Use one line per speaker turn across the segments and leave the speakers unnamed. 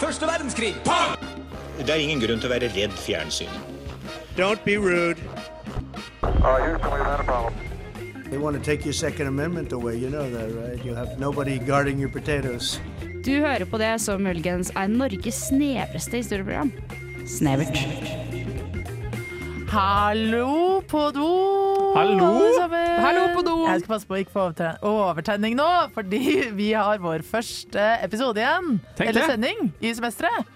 Første verdenskrig.
Det er ingen grunn til å være redd fjernsyn.
Don't be rude.
Uh, Houston, we've had a problem.
They want to take your Second Amendment away. You know that, right? You have nobody guarding your potatoes.
Du hører på det som muligens er Norges snevreste historieprogram. Snevert.
Hallo på do!
Hallo.
alle sammen.
Hallo på do.
Jeg skal passe på å ikke få overtre- overtenning nå, fordi vi har vår første episode igjen.
Tenk
eller
det.
sending i semesteret.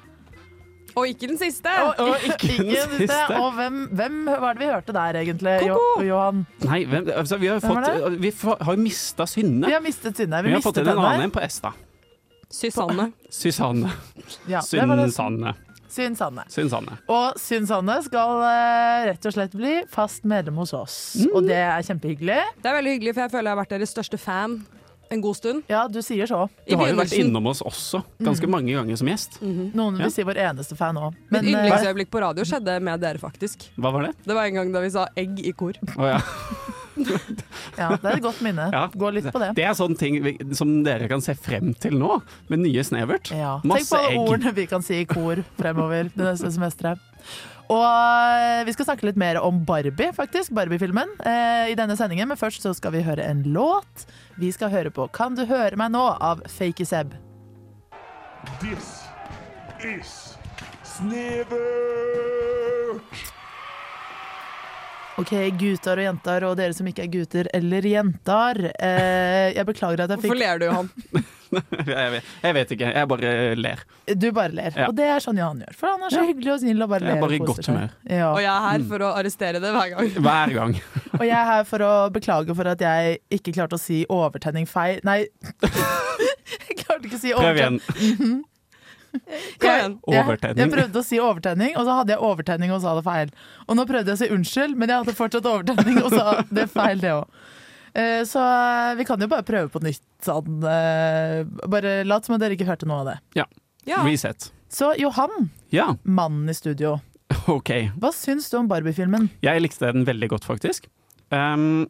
Og ikke den siste.
Og, og ikke,
Ikke den
ikke den siste.
siste.
Og hvem, hvem var det vi hørte der, egentlig? Jo, Johan.
Nei, hvem, altså, vi har jo
Hvem var
fått- vi får- har jo mista Synne.
Vi har mistet Synne.
vi, har fått
mistet
inn en
henne.
annen en på S, da.
Susanne.
Susanne.
Ja, det var det.
Synsanne.
Syn Sanne.
Synsanne.
Og Syn Sanne skal eh, rett og slett bli fast medlem hos oss.
Mm.
Og det er kjempehyggelig.
Det er veldig hyggelig, for jeg føler jeg har vært deres største fan en god stund.
Ja, du sier så.
Du
I
har jo vært
begynnelsen.
innom oss også,
Mm.
ganske mange ganger som gjest.
Noen vil
Ja.
si vår eneste fan eh, òg.
Mitt yndlingsøyeblikk på radio skjedde med dere, faktisk.
Hva var det?
Det var en gang da vi sa 'egg' i kor.
Å ja.
ja, det er et godt minne.
ja.
Gå litt på det.
Det er sånne ting vi, som dere kan se frem til nå, med nye Snevert.
Ja. Tenk
Masse
på alle
egg.
ordene vi kan si i kor fremover det neste semesteret. Og eh, vi skal snakke litt mer om Barbie, faktisk. Barbie-filmen eh, i denne sendingen. Men først så skal vi høre en låt. Vi skal høre på 'Kan du høre meg nå?' av Fakey Seb.
This is Snevert!
Ok, gutter og jenter, og dere som ikke er gutter eller jenter. Eh, jeg beklager at jeg
Hvorfor
fikk
ler du, Johan?
Jeg, vet- jeg vet ikke, jeg bare ler.
Du bare ler.
Ja.
Og det er sånn Johan gjør. For han er så
Ja.
hyggelig og snill og bare
Jeg er
ler.
bare i
og koser
godt
seg.
humør.
Ja.
Og jeg er her for å arrestere det hver gang.
Hver gang.
Og jeg er her for å beklage for at jeg ikke klarte å si overtenning feil. Nei. jeg klarte ikke å si
Prøv
overtenning.
igjen.
Kom igjen.
Jeg, jeg
Overtenning.
prøvde å si overtenning, og så hadde jeg overtenning og sa det feil. Og nå prøvde jeg å si unnskyld, men jeg hadde fortsatt overtenning og sa det feil, det òg. Så eh, vi kan jo bare prøve på nytt. Sånn. eh, Bare lat som at dere ikke hørte noe av det.
Ja.
Ja.
Reset.
Så Johan,
Ja,
mannen i studio,
OK.
hva syns du om Barbie-filmen?
Jeg likte den veldig godt, faktisk. Um,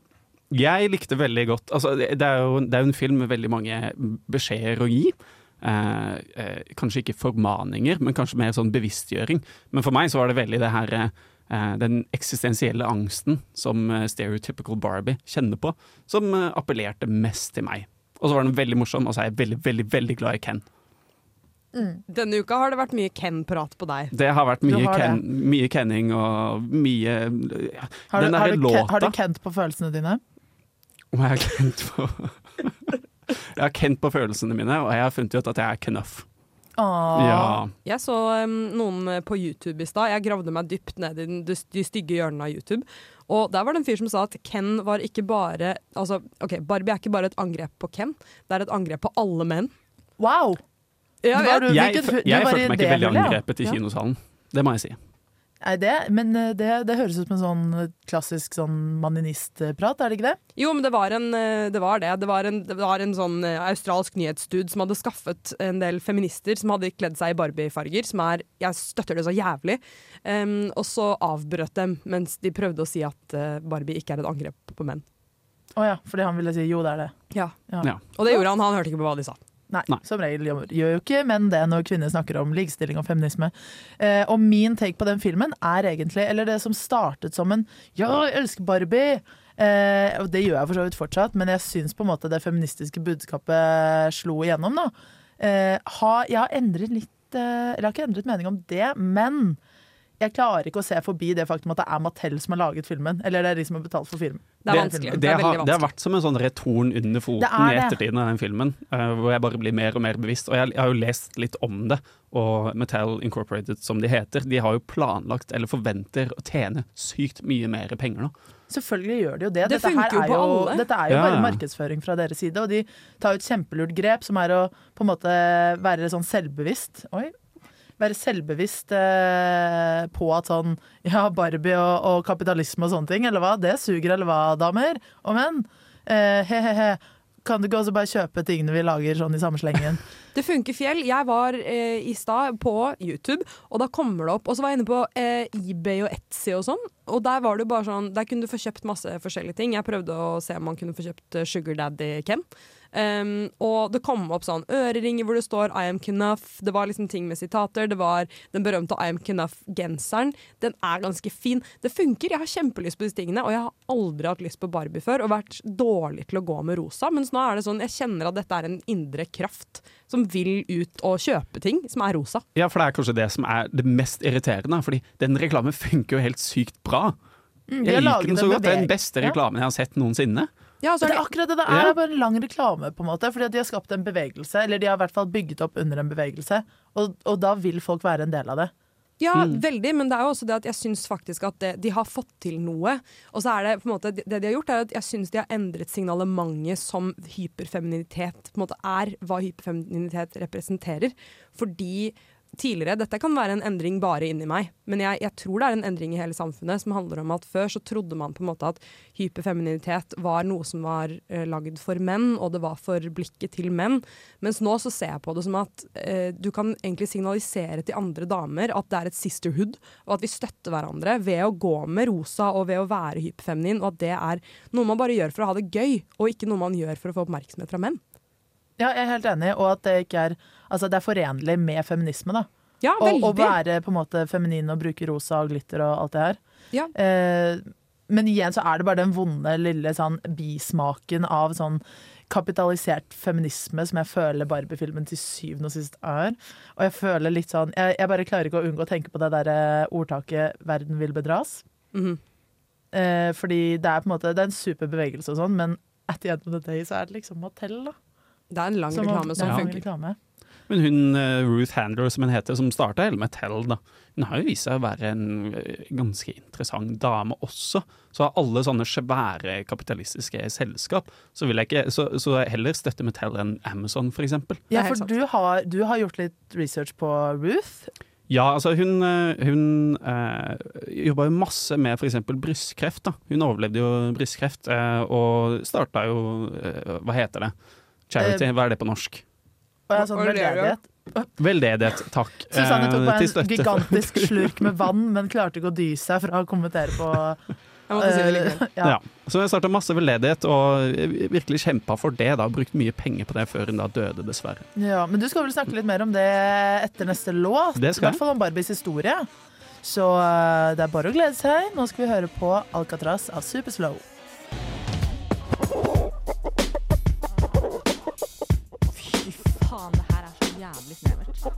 jeg likte veldig godt altså, det, det er jo, det er jo en film med veldig mange beskjeder å gi. Eh, eh, kanskje ikke formaninger, men kanskje mer sånn bevisstgjøring. Men for meg så var det veldig det her eh, eh, den eksistensielle angsten som eh, stereotypical Barbie kjenner på, som eh, appellerte mest til meg. Og så var den veldig morsom, og så er jeg veldig, veldig veldig glad i Ken.
Denne uka har det vært mye Ken-prat på deg.
Det har vært
Du
mye,
har det.
ken, mye kenning og mye ja,
Har
Den
du, har,
derre
du, Ken- har du
låta
kjent på følelsene dine?
Og jeg har kjent på Jeg har kjent på følelsene mine, og jeg har funnet ut at jeg er knuff.
Åh.
Ja.
Jeg så um, noen på YouTube i stad. Jeg gravde meg dypt ned i den, de, de stygge hjørnene av YouTube. Og der var det en fyr som sa at Ken var ikke bare Altså, OK, Barbie er ikke bare et angrep på Ken, det er et angrep på alle menn.
Wow!
Ja,
Var
jeg,
du,
Jeg,
hvilket-
fø-
du
jeg
var i
følte meg ikke
det
veldig
hullet, ja.
angrepet i
Ja.
kinosalen. Det må jeg si.
Nei, det, men eh, det, det høres ut som en sånn klassisk sånn maninistprat, er det ikke det?
jo, men det var, en, eh, det var det. Det var en, det var en sånn eh, australsk nyhetsdude som hadde skaffet en del feminister som hadde kledd seg i Barbie-farger, som er Jeg støtter det så jævlig. Um, og så avbrøt dem mens de prøvde å si at eh, Barbie ikke er et angrep på menn.
Å ja, fordi han ville si jo, det er det.
Ja.
Ja.
Og det gjorde han. Han hørte ikke på hva de sa.
Nei,
Nei.
som regel gjør gjør jo ikke menn det når kvinner snakker om likestilling og feminisme. Eh, og min take på den filmen er egentlig, eller det som startet som en Ja, jeg elsker Barbie! Eh, og det gjør jeg for så vidt fortsatt, men jeg syns på en måte det feministiske budskapet slo igjennom, da. Eh, har- jeg har endret litt eh, Eller jeg har ikke endret mening om det, men jeg klarer ikke å se forbi det faktum at det er Mattel som har laget filmen. Eller det er de som har betalt for filmen.
Det er vanskelig.
Det,
Det er veldig
har, det har
vanskelig.
vært som en sånn retorn under
Det
foten i
er det.
ettertiden av den filmen, eh, hvor jeg bare blir mer og mer bevisst. Og jeg, jeg har jo lest litt om det, og Mattel Incorporated, som de heter, de har jo planlagt, eller forventer, å tjene sykt mye mer penger nå.
Selvfølgelig gjør de jo
Det
det. dette
funker
her
jo
er
på
jo,
alle.
Dette er jo
Ja.
bare markedsføring fra deres side, og de tar jo et kjempelurt grep, som er å på en måte være sånn selvbevisst Oi. Være selvbevisst eh, på at sånn Ja, Barbie og, og kapitalisme og sånne ting, eller hva? Det suger, eller hva, damer og menn? Eh, He-he-he. Kan du ikke også bare kjøpe tingene vi lager sånn i samme slengen?
Det funker fjell. Jeg var eh, i stad på YouTube, og da kommer det opp. Og så var jeg inne på eh, eBay og Etsy og sånn, og der var det jo bare sånn Der kunne du få kjøpt masse forskjellige ting. Jeg prøvde å se om man kunne få kjøpt eh, Sugar Daddy Ken. Um, og det kom opp sånn øreringer hvor det står I am Knuff. Det var liksom ting med sitater. Det var den berømte I am Knuff-genseren. Den er ganske fin. Det funker. Jeg har kjempelyst på disse tingene, og jeg har aldri hatt lyst på Barbie før og vært dårlig til å gå med rosa. Mens nå er det sånn, jeg kjenner at dette er en indre kraft som vil ut og kjøpe ting som er rosa.
Ja, for det er kanskje det som er det mest irriterende, fordi den reklamen funker jo helt sykt bra.
Mm, de har
Jeg
laget
liker den så
en
godt. Det er
beveg-
den beste
Ja.
reklamen jeg har sett noensinne.
Ja, så er
Det er
det
akkurat det det
Ja.
er, det er bare en lang reklame, på en måte. Fordi at de har skapt en bevegelse, eller de har i hvert fall bygget opp under en bevegelse. Og, og da vil folk være en del av det.
Ja, veldig, men det er jo også det at jeg syns faktisk at det, de har fått til noe. Og så er det på en måte, det de har gjort er at jeg syns de har endret signalementet som hyperfeminitet på en måte er hva hyperfeminitet representerer. Fordi tidligere, dette kan være en endring bare inni meg, men jeg, jeg tror det er en endring i hele samfunnet som handler om at før så trodde man på en måte at hyperfeminitet var noe som var eh, lagd for menn, og det var for blikket til menn. Mens nå så ser jeg på det som at eh, du kan egentlig signalisere til andre damer at det er et sisterhood, og at vi støtter hverandre ved å gå med rosa og ved å være hyperfeminin, og at det er noe man bare gjør for å ha det gøy, og ikke noe man gjør for å få oppmerksomhet fra menn.
Ja, jeg er helt enig, og at det ikke er Altså, det er forenlig med feminisme, da.
Ja,
Å- Å
veldig.
være på en måte feminin og bruke rosa og glitter og alt det her.
Ja.
Eh, men igjen så er det bare den vonde lille sånn bismaken av sånn kapitalisert feminisme som jeg føler Barbie-filmen til syvende og sist er. Og jeg føler litt sånn Jeg, jeg bare klarer ikke å unngå å tenke på det derre ordtaket 'verden vil bedras'.
Mhm.
eh, fordi det er på en måte Det er en super bevegelse og sånn, men at the end of the day så er det liksom Mattel, da.
Det er en lang
Som-
reklame som
Ja, en
funker.
reklame.
Men hun eh, Ruth Handler, som hun heter, som starta hele Mattel, da, hun har jo vist seg å være en eh, ganske interessant dame også. Så av alle sånne svære kapitalistiske selskap, så vil jeg ikke Så, så heller støtte Mattel enn Amazon, for eksempel.
Det er
Ja,
helt
for
sant.
du har, du har gjort litt research på Ruth.
Ja, altså hun, eh, hun eh, jobba jo masse med f.eks. brystkreft. da. Hun overlevde jo brystkreft, eh, og starta jo eh, Hva heter det? Charity,
Eh,
hva er det på norsk?
Hva-
Og jeg har sånn
hva er det du gjør?
veldedighet.
Veldedighet, takk.
Susanne tok
eh,
bare
til
en
støtte for-
gigantisk slurk med vann, men klarte ikke å dy seg fra å kommentere på
Jeg måtte si det
eh,
likevel.
ja.
Ja. Så hun starta masse veldedighet, og eh, virkelig kjempa for det. da, Brukt mye penger på det før hun da døde, dessverre.
Ja, men du skal vel snakke litt mer om det etter neste låt.
Det
I
skal jeg.
hvert fall om Barbies historie. Så eh, det er bare å glede seg. Nå skal vi høre på Alcatraz av Superslow.
Faen, det her er så jævlig snevert.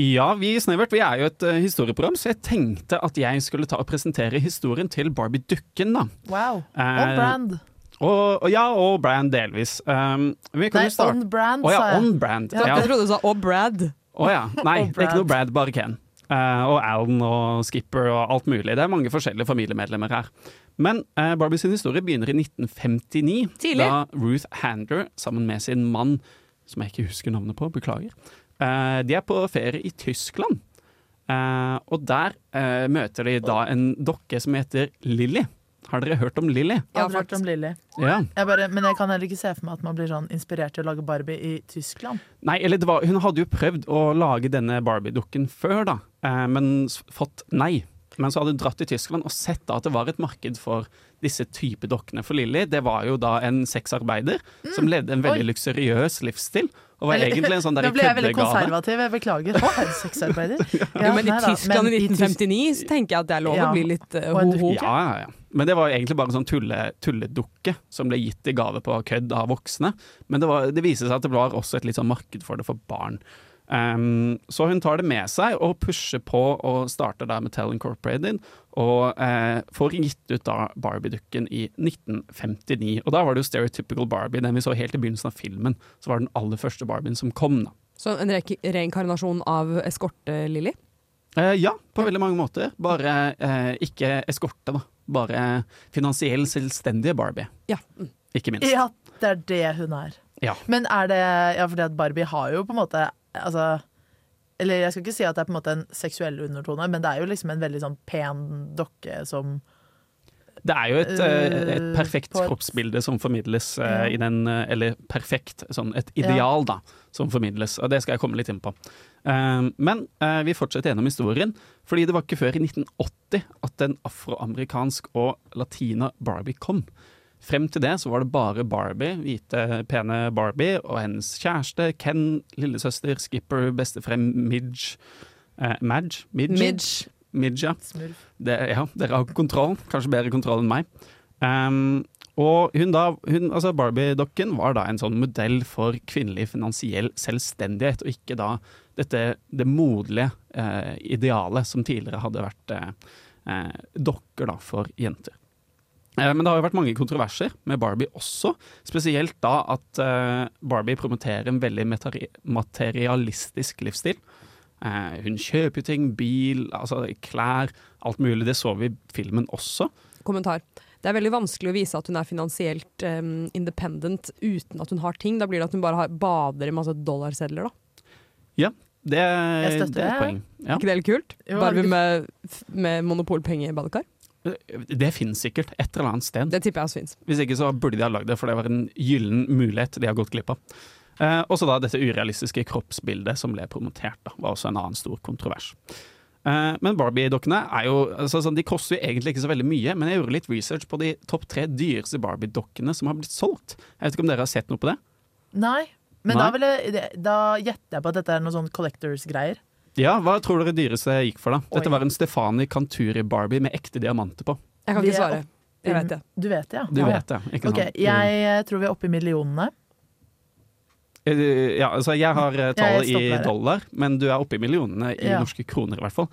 Ja, vi i Snevert vi er jo et eh, historieprogram, så jeg tenkte at jeg skulle ta og presentere historien til Barbie-dukken. da.
Wow. On
Eh,
brand.
Og, og ja, og brand delvis. Um, vi kan
Nei,
jo starte
on brand,
Å ja,
sa jeg.
on brand.
Jeg
Ja.
trodde du sa 'Å, Brad'.
Å ja. Nei,
On
det er ikke
brand.
noe Brad, bare Ken. Eh, og Alan og Skipper og alt mulig. Det er mange forskjellige familiemedlemmer her. Men eh, Barbie sin historie begynner i 1959,
Tidlig.
da Ruth Handler sammen med sin mann, som jeg ikke husker navnet på, beklager, eh, de er på ferie i Tyskland. Eh, og der eh, møter de da en dokke som heter Lilly. Har dere hørt om Lilly?
Ja,
Aldri hørt om Lilly.
Ja.
Jeg bare, men jeg kan heller ikke se for meg at man blir sånn inspirert til å lage Barbie i Tyskland.
Nei, eller det var, hun hadde jo prøvd å lage denne Barbie-dukken før, da, eh, men s- fått nei. Men så hadde hun dratt til Tyskland og sett da at det var et marked for disse type dokkene. For Lilly det var jo da en sexarbeider som levde en veldig
Mm. Oi.
luksuriøs livsstil. Og var
Eller-
egentlig en sånn
Nå
der
ble jeg veldig
køddegave.
konservativ, jeg beklager. Å, er du sexarbeider? Ja,
Jo, men i
nei da,
Tyskland
men
i
i Tys-
1959 så tenker jeg at det er lov
Ja.
å bli litt eh,
Og en
ho-ho.
Ja, ja, ja. Men det var jo egentlig bare en sånn tulle, tulledukke som ble gitt i gave på kødd av voksne. Men det, var, det viser seg at det var også et litt sånn marked for det for barn. Ehm, så hun tar det med seg og pusher på og starter der med Tell Incorporated. Og eh, får gitt ut da Barbie-dukken i 1959. Og da var det jo Stereotypical Barbie, den vi så helt i begynnelsen av filmen. Så var det den aller første Barbien som kom, da.
Så en re reinkarnasjon av eskorte-Lilly.
Eh, ja, på veldig mange måter. Bare eh, ikke eskorte, da. Bare finansiell selvstendige Barbie.
Ja. Mm.
Ikke minst.
Ja, det er det hun er.
Ja.
Men er det Ja, fordi at Barbie har jo på en måte Altså Eller jeg skal ikke si at det er på en måte en seksuell undertone, men det er jo liksom en veldig sånn pen dokke som
Det er jo et, eh, et
Eh,
perfekt
på et-
kroppsbilde som formidles eh,
Ja.
i den eh, Eller perfekt, sånn et ideal, da, som formidles. Og det skal jeg komme litt inn på. Eh, Men eh, vi fortsetter gjennom historien, fordi det var ikke før i 1980 at en afroamerikansk og latina Barbie kom. Frem til det så var det bare Barbie, hvite, pene Barbie, og hennes kjæreste, Ken, lillesøster, Skipper, bestefrem, Midge. Eh, Madge? Midge?
Midge.
Midge, ja.
Smurf.
Det, ja, dere har kontroll. Kanskje bedre kontroll enn meg. Ehm, og hun da, hun, altså Barbie-dokken var da en sånn modell for kvinnelig finansiell selvstendighet, og ikke da dette det moderlige eh, idealet som tidligere hadde vært eh, eh, dokker da for jenter. Eh, Men det har jo vært mange kontroverser med Barbie også, spesielt da at eh, Barbie promoterer en veldig metari- materialistisk livsstil. Eh, Hun kjøper jo ting, bil, altså klær, alt mulig. Det så vi i filmen også.
Kommentar. Det er veldig vanskelig å vise at hun er finansielt em, independent uten at hun har ting. Da blir det at hun bare har, bader i masse dollarsedler, da.
Det, det er
støtter
et
det.
poeng. Ja.
Ikke det litt kult?
Jo,
Barbie
veldig-
med, med monopolpenger i badekar?
Det finnes sikkert et eller annet sted.
Det tipper jeg også fins.
Hvis ikke så burde de ha lagd det, for det var en gyllen mulighet de har gått glipp av. Eh, også da dette urealistiske kroppsbildet som ble promotert, da, var også en annen stor kontrovers. Eh, men Barbie-dokkene er jo, altså, sånn, de koster jo egentlig ikke så veldig mye, men jeg gjorde litt research på de topp tre dyreste Barbie-dokkene som har blitt solgt. Jeg vet ikke om dere har sett noe på det?
Nei. Men
Nei.
da, vil jeg, det- da gjetter jeg på at dette er noe sånn collectors-greier.
Ja, hva tror dere dyreste gikk for, da? Dette
Oi.
var en Stefani Canturi-Barbie med ekte diamanter på.
Jeg kan
Vi
ikke
er
svare.
opp-
Jeg vet det.
Du vet det, ja.
Du
Ja.
vet det, ikke sånn.
Ok,
sant?
jeg eh, tror vi er oppe i millionene.
Eh, Ja, altså jeg har eh,
Jeg
tallet
stopper
i
her.
dollar, men du er oppe i millionene i
Ja.
norske kroner i hvert fall.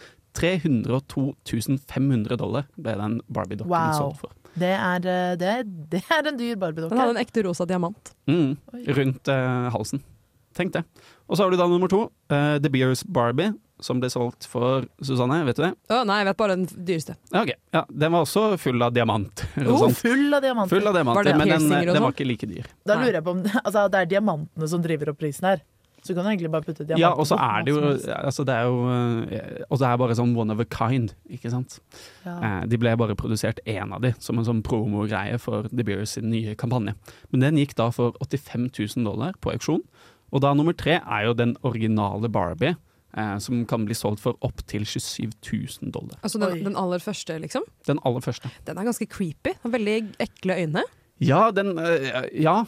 302 500 dollar ble den Barbie-dokken
Wow.
solgt for.
Det er, eh, det, det er en dyr
Den hadde
Barbie-dokke.
en ekte rosa diamant.
Mm,
Oi.
rundt eh, halsen. Tenk det. Og så har du da nummer to, eh, The Beers Barbie, som ble solgt for Susanne, vet du det?
Å nei, jeg vet bare den dyreste.
Ja, Ok, ja, Den var også full av diamanter. og
Oh,
sånt.
full av diamanter.
Full av
Var det
diamanter, men den,
piercinger og
den
sånn?
var ikke like dyr.
Da lurer jeg på om altså, det er diamantene som driver opp prisen her. Så du kan egentlig bare putte diamanter
Ja, og så
på
er det jo,
hva som helst.
altså det er jo eh, Og det er bare sånn one of a kind, ikke sant.
ja.
Eh, De ble bare produsert én av de, som en sånn promogreie for De Beers sin nye kampanje. Men den gikk da for 85 000 dollar på auksjon. Og da nummer tre er jo den originale Barbie, eh, som kan bli solgt for opptil 27 000 dollar.
Altså
Oi.
den, den aller første, liksom.
Den aller første.
Den er ganske creepy. Har Veldig ekle øyne.
Ja, den eh, Ja.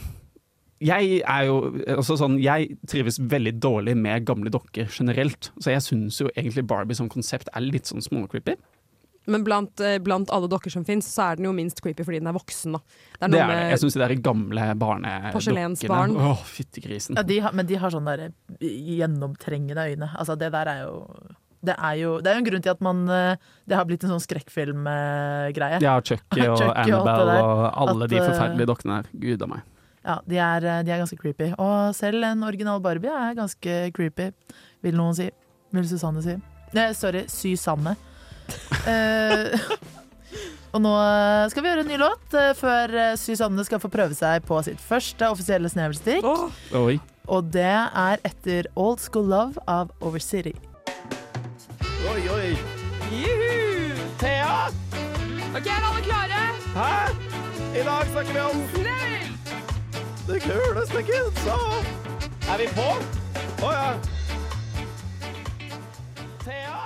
Jeg er jo altså sånn, jeg trives veldig dårlig med gamle dokker generelt, så jeg syns jo egentlig Barbie som konsept er litt sånn småcreepy.
Men blant, eh, blant alle dokker som fins, så er den jo minst creepy fordi den er voksen. Da. Det er
Det
noe
er det. Jeg
med
syns de der gamle barnedukkene
Porselensbarn.
Å, fyttegrisen.
ja, de har, men de har sånne der eh, gjennomtrengende øyne. Altså, det der er jo det er, jo, det er jo en grunn til at man eh, Det har blitt en sånn eh, skrekkfilmgreie.
Ja, Chucky og
Chucky og alt det
Annabelle
der.
og alle
At,
de
eh,
forferdelige dokkene der. Gud a meg.
Ja, de er, eh, de er ganske creepy. Og selv en original Barbie er ganske creepy, vil noen si. Vil Susanne si. Nei, sorry, Susanne. Eh, og nå eh, skal vi gjøre en ny låt eh, før eh, Susanne skal få prøve seg på sitt første offisielle snevelstikk.
Åh,
Oi.
Og det er etter Old School Love av Over City.
Oi, oi. Juhu! Thea!
OK, er alle klare?
Hæ? I dag snakker vi om det kuleste kidsa. Er vi på? Å ja. Thea!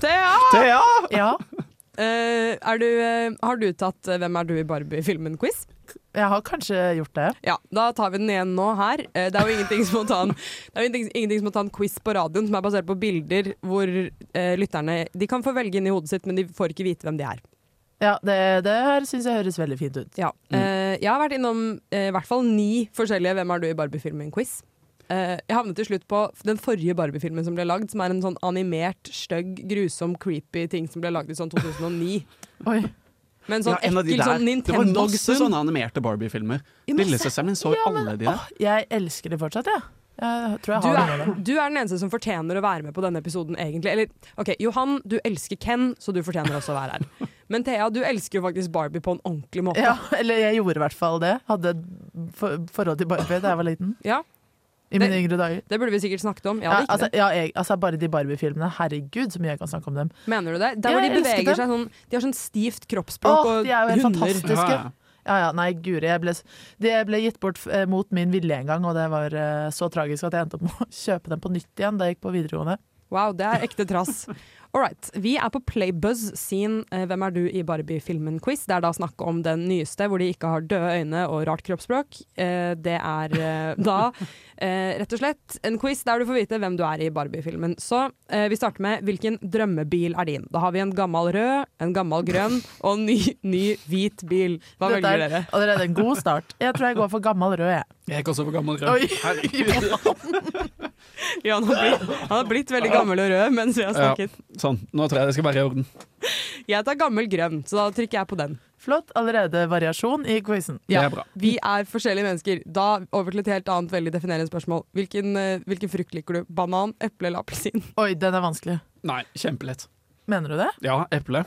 Thea!
Thea!
Ja,
Eh, er du, eh, har du tatt eh, 'Hvem er du i Barbie?'-filmen-quiz?
jeg har kanskje gjort det.
Ja, da tar vi den igjen nå her. Eh, det er jo ingenting som å ta en, det er jo ingenting, ingenting som å ta en quiz på radioen som er basert på bilder hvor eh, lytterne De kan få velge inn i hodet sitt, men de får ikke vite hvem de er.
Ja, Det, det her syns jeg høres veldig fint ut.
Ja. Eh, jeg har vært innom eh, i hvert fall ni forskjellige 'Hvem er du i Barbie-filmen?'-quiz. Eh, jeg havnet til slutt på den forrige Barbie-filmen som ble lagd, som er en sånn animert, stygg, grusom, creepy ting som ble lagd i sånn 2009.
Oi.
Med en sånn
en av de
ekkel
der.
sånn
det var masse
Nintendo-hund.
sånne animerte Barbie-filmer.
Ja, masse.
Lillesøsteren min så jo alle de der.
Åh, jeg elsker det fortsatt, jeg. Ja. Jeg tror jeg
Du
har det
er,
nå. da.
du er den eneste som fortjener å være med på denne episoden, egentlig. Eller, ok, Johan, du elsker Ken, så du fortjener også å være her. Men Thea, du elsker jo faktisk Barbie på en ordentlig måte.
Ja, eller jeg gjorde i hvert fall det. Hadde et for forhold til Barbie da jeg var liten.
Ja.
i mine yngre dager.
Det burde vi sikkert snakket om.
Ja,
Ja,
altså, ja, jeg, altså bare de Barbie-filmene. Herregud, så mye jeg kan snakke om dem.
Mener du det? Der
Ja,
hvor de
jeg elsker
beveger seg sånn De har sånn stivt kroppsspråk
Åh,
og
de er jo helt
hunder.
fantastiske.
Ja, ja.
Ja, ja, nei, guri, jeg ble, s- de ble gitt bort eh, mot min vilje en gang, og det var eh, så tragisk at jeg endte opp med å kjøpe dem på nytt igjen da jeg gikk på videregående.
Wow, det er ekte trass. All right. Vi er på Playbuzz sin eh, Hvem er du i Barbie-filmen-quiz. Det er da snakk om den nyeste, hvor de ikke har døde øyne og rart kroppsspråk. Eh, Det er eh, da eh, rett og slett en quiz der du får vite hvem du er i Barbie-filmen. Så eh, vi starter med hvilken drømmebil er din? Da har vi en gammel rød, en gammel grønn og en ny, ny hvit bil. Hva
Dette
velger
er
dere?
Allerede en god start. Jeg tror jeg går for gammel rød, jeg.
Jeg gikk også for gammel
Oi.
rød. Herregud.
Ja, han, har blitt, han har blitt veldig gammel og rød mens vi har
Ja.
snakket.
Sånn, nå tror jeg det skal være i orden.
Jeg tar gammel grønn, så da trykker jeg på den.
Flott. Allerede variasjon i quizen.
Det
Ja.
er bra.
Vi er forskjellige mennesker. Da over til et helt annet veldig definerende spørsmål. Hvilken, eh, hvilken frukt liker du? Banan, eple eller appelsin?
Oi, den er vanskelig.
Nei, kjempelett.
Mener du det?
Ja, eple.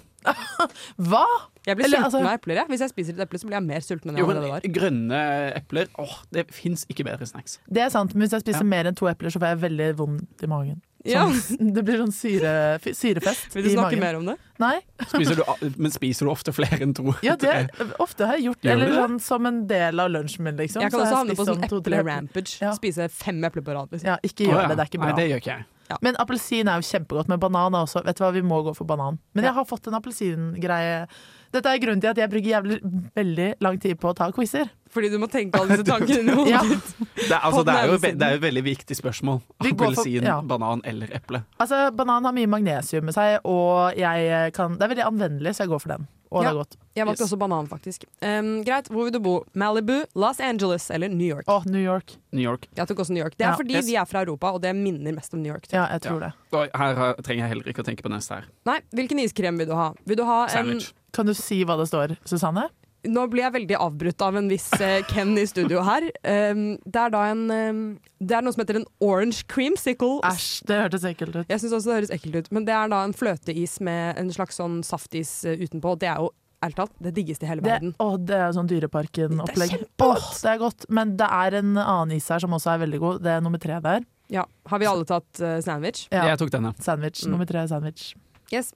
Hva?
Jeg blir
Eller,
sulten
altså-
av epler. jeg. Hvis jeg spiser et eple, så blir jeg mer sulten enn jeg
Jo,
allerede var.
men grønne epler Åh, det fins ikke bedre snacks.
Det er sant, men hvis jeg spiser
Ja.
mer enn to epler, så får jeg veldig vondt i magen.
Ja.
Sånn, det blir sånn syre, f- syrefest
Vil du
i
snakke
magen.
mer om det?
Nei,
Spiser du, men spiser du ofte flere enn to?
ja, det ofte har jeg gjort.
Gjør
Eller
du det?
sånn som en del av lunsjen min, liksom.
Jeg kan
så har
også havne på
spist
sånn
to-tre
eple-rampage.
Ja.
Spise fem epler på rad. Liksom.
Ja, ikke
Å,
gjør
ja.
det, det er ikke bra.
Nei, det gjør ikke jeg.
Men appelsin er jo kjempegodt, men banan er også Vet du hva, vi må gå for banan. Men jeg har fått en appelsingreie. Dette er grunnen til at jeg bruker jævlig veldig lang tid på å ta quizer.
Fordi du må tenke alle disse tankene i
Ja.
hodet ditt.
Det er, altså,
På den
det er jo
ene
ve-
siden.
det er jo et veldig viktig spørsmål.
Vi går for-
Appelsin,
ja.
banan eller eple.
Altså, banan har mye magnesium med seg, og jeg kan Det er veldig anvendelig, så jeg går for den. Og det
Ja.
er godt.
Jeg valgte
Yes.
også banan, faktisk. Um, greit, hvor vil du bo? Malibu, Los Angeles eller New York?
Å, New York.
New York.
Jeg tok også New York. Det er
Ja,
fordi
yes.
vi er fra Europa, og det minner mest om New York. tror jeg.
Ja, jeg tror det.
Oi, her har, trenger jeg heller ikke å tenke på neste her.
Nei, hvilken iskrem vil du ha? Vil du ha en
Sandwich.
Kan du si hva det står, Susanne?
Nå blir jeg veldig avbrutt av en viss eh, Ken i studio her. Um, det er da en um, Det er noe som heter en orange creamsicle.
Æsj, det hørtes ekkelt ut.
Jeg syns også det høres ekkelt ut, men det er da en fløteis med en slags sånn saftis eh, utenpå. Det er jo ærlig talt det diggeste i hele
Det,
verden.
å, det er jo sånn Dyreparken-opplegg.
Det er
Åh, det er godt. Men det er en annen is her som også er veldig god. Det er nummer tre der.
Ja, Har vi alle tatt eh, sandwich?
Ja.
Jeg tok denne.
Sandwich.
Mm.
Nummer tre er sandwich.
Yes.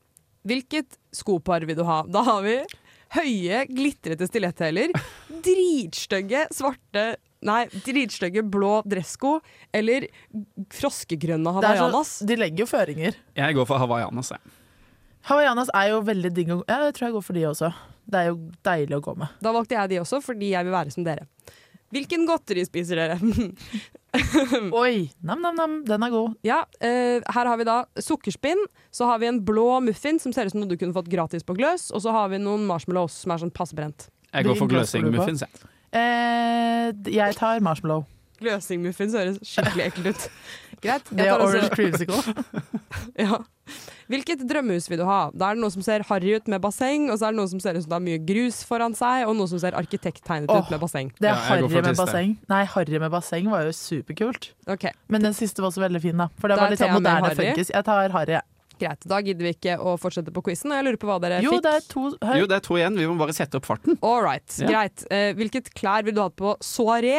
Hvilket skopar vil du ha? Da har vi høye, glitrete stiletthæler, dritstygge svarte Nei, dritstygge blå dressko eller froskegrønne
Det er
hawaiianas.
så, de legger jo føringer.
Jeg går for hawaiianas. jeg.
Hawaiianas er jo veldig digg å gå ja, Jeg tror jeg går for de også. Det er jo deilig å gå med.
Da valgte jeg de også, fordi jeg vil være som dere. Hvilken godteri spiser dere? Mm.
Oi! Nam-nam-nam, den er god.
ja, eh, Her har vi da sukkerspinn, så har vi en blå muffin som ser ut som noe du kunne fått gratis på Gløs, og så har vi noen marshmallows som er sånn passbrent.
Jeg går
Hvilken
for
glass skal du på?
gløsingmuffins. jeg.
Eh, jeg tar marshmallow.
Gløsingmuffins høres skikkelig ekkelt ut. Greit.
Det
Jeg
er
tar
orange
også,
creamsicle.
ja. Hvilket drømmehus vil du ha? Da er det noe som ser harry ut med basseng, og så er det noe som ser ut som det er mye grus foran seg, og noe som ser arkitekttegnet
Åh.
ut med basseng.
Det
Ja,
er
jeg
harry
går for
med
tiste.
basseng. Nei, harry med basseng var jo superkult.
Ok,
Men den siste var også veldig fin, da. For det
Da
var litt sånn
tar jeg med
moderne
harry.
funkis. Jeg tar harry, jeg.
Greit. Da gidder vi ikke å fortsette på quizen, og jeg lurer på hva dere
Jo,
fikk.
det er to
Jo, det er to igjen. Vi må bare sette opp farten.
All right,
Ja.
greit. Eh, hvilket klær ville du hatt på soaré?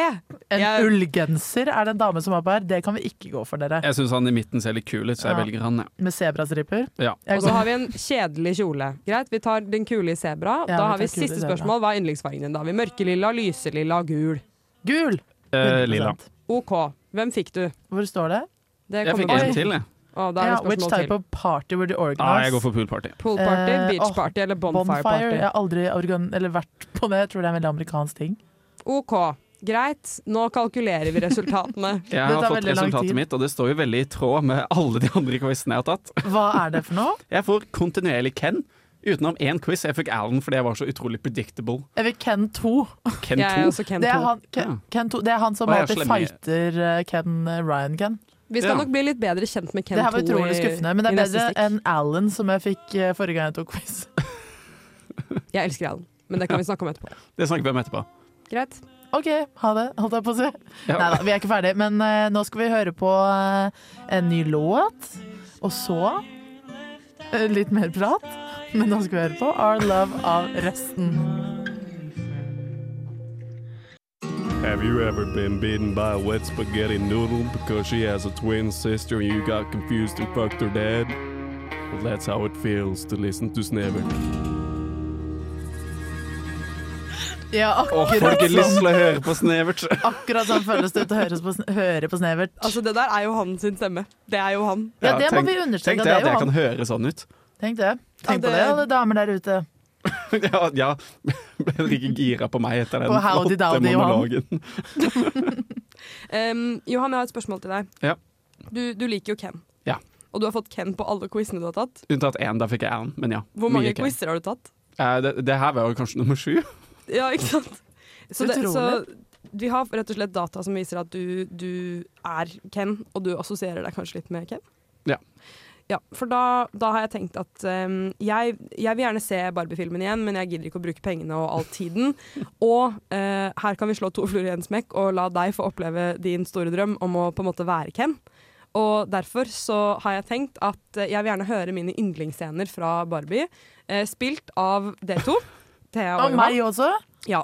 En
Jeg-
ullgenser er det en dame som har på her. Det kan vi ikke gå for, dere.
Jeg syns han i midten ser litt kul ut, så jeg
Ja.
velger han. Ja.
Med sebrastriper.
Ja.
Jeg
Og så
går-
har vi en kjedelig kjole. Greit, vi tar den kule i sebra. da
Ja, vi
har vi
tar kule i
siste
sebra.
spørsmål. Hva er yndlingsfargen din? da? Har Vi Mørkelilla, lyselilla, gul.
Gul!
Eh,
100%.
lilla.
OK. Hvem fikk du?
Hvor står det?
Det
Jeg fikk
kommer
en
vi-
til, jeg.
Å, da er
Ja,
det
which
spørsmål
type
til.
of party were you organize?
Ah, jeg går for poolparty.
Poolparty,
Eh, åh,
beachparty eller bonfire
Bonfire.
party?
Jeg har aldri organ eller vært på det. Jeg tror det er en veldig amerikansk ting.
OK. Greit, nå kalkulerer vi resultatene.
Jeg
Det
har
tar
fått
veldig lang tid.
resultatet mitt, og det står jo veldig i tråd med alle de andre quizene jeg har tatt.
Hva er det for noe?
Jeg får kontinuerlig Ken. Utenom én quiz. Jeg fikk Alan fordi jeg var så utrolig predictable.
Jeg vil Ken 2.
Ken
Jeg er
2.
også Ken
Det er
2.
han, Ken,
Ja.
Ken 2. Det er han som
Å, jeg er
alltid
slem i-
fighter eh, Ken eh, Ryan Ken.
Vi skal
Ja.
nok bli litt bedre kjent med Ken 2.
Det her var utrolig
i-
skuffende, men det
i
er
neste
bedre
stikk.
enn Alan som jeg fikk eh, forrige gang jeg tok quiz.
Jeg elsker Alan, men det kan vi snakke om etterpå.
Det snakker vi om etterpå.
Greit.
OK, ha det, holdt jeg på å si.
Ja.
Nei da, vi er ikke ferdig, men eh, nå skal vi høre på eh, en ny låt. Og så eh, litt mer prat. Men nå skal vi høre på Our Love av resten.
Have you ever been bitten by a wet spaghetti noodle because she has a twin sister and you got confused and fucked her dad? Well, that's how it feels to listen to Snever.
Ja,
Åh,
akkurat
folk har lyst
sånn,
til å høre på Snevert.
akkurat sånn føles det ut å høre på, sn- høre på Snevert.
Altså, det der er jo han sin stemme. Det er jo han.
ja, det må
tenk-
vi understreke. at
Tenk det
Det
at
er
jeg
jo
kan
han.
høre sånn ut.
Tenk det. Tenk på
det-
det, alle damer der ute.
Ja, ja. Ble dere ikke gira på meg etter den
På Howdy
flotte
Dowdy, Johan.
monologen?
Em, Johan, jeg har et spørsmål til deg.
Ja.
Du, du liker jo Ken.
Ja.
Og du har fått Ken på alle quizene du har tatt.
Unntatt én, da fikk jeg Alan. Men ja.
Hvor mange
mye ikke.
quizer har du tatt?
Eh, det, det her var jo kanskje nummer sju.
Ja, ikke sant? Så, det,
Utrolig.
så vi har rett og slett data som viser at du, du er Ken, og du assosierer deg kanskje litt med Ken?
Ja.
Ja, For da, da har jeg tenkt at ehm, jeg, jeg vil gjerne se Barbie-filmen igjen, men jeg gidder ikke å bruke pengene og all tiden. Og eh, her kan vi slå to fluer i en smekk og la deg få oppleve din store drøm om å på en måte være Ken. Og derfor så har jeg tenkt at eh, jeg vil gjerne høre mine yndlingsscener fra Barbie, eh, spilt av dere to. Thea og
Og
Johan.
meg også.
Ja.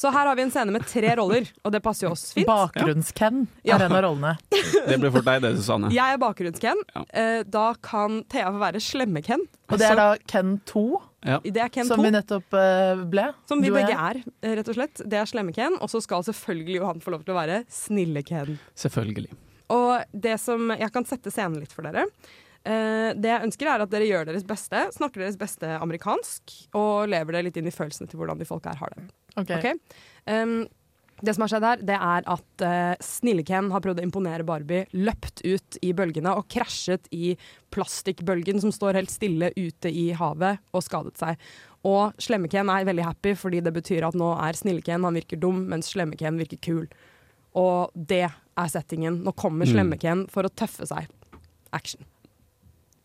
Så her har vi en scene med tre roller, og det passer jo oss fint.
Bakgrunns-Ken
Ja.
er en av rollene.
Det ble fort deg, det, Susanne.
jeg er bakgrunns-Ken.
Ja.
Eh, Da kan Thea få være slemme-Ken.
Og det er da Ken 2,
Det er Ken
som
2,
vi nettopp eh, ble.
som vi
Du og
begge
jeg.
er, eh, rett og slett. Det er slemme-Ken. Og så skal selvfølgelig Johan få lov til å være snille-Ken.
Selvfølgelig.
Og det som Jeg kan sette scenen litt for dere. Eh, det jeg ønsker er at dere gjør deres beste, snakker deres beste amerikansk og lever det litt inn i følelsene til hvordan de folk her har det.
Ok.
Ok. Um, det som har skjedd her, det er at eh, Snille-Ken har prøvd å imponere Barbie, løpt ut i bølgene og krasjet i plastikkbølgen som står helt stille ute i havet, og skadet seg. Og Slemme-Ken er veldig happy, fordi det betyr at nå er Snille-Ken, han virker dum, mens Slemme-Ken virker kul. Og det er settingen. Nå kommer Slemme-Ken for å tøffe seg. Action.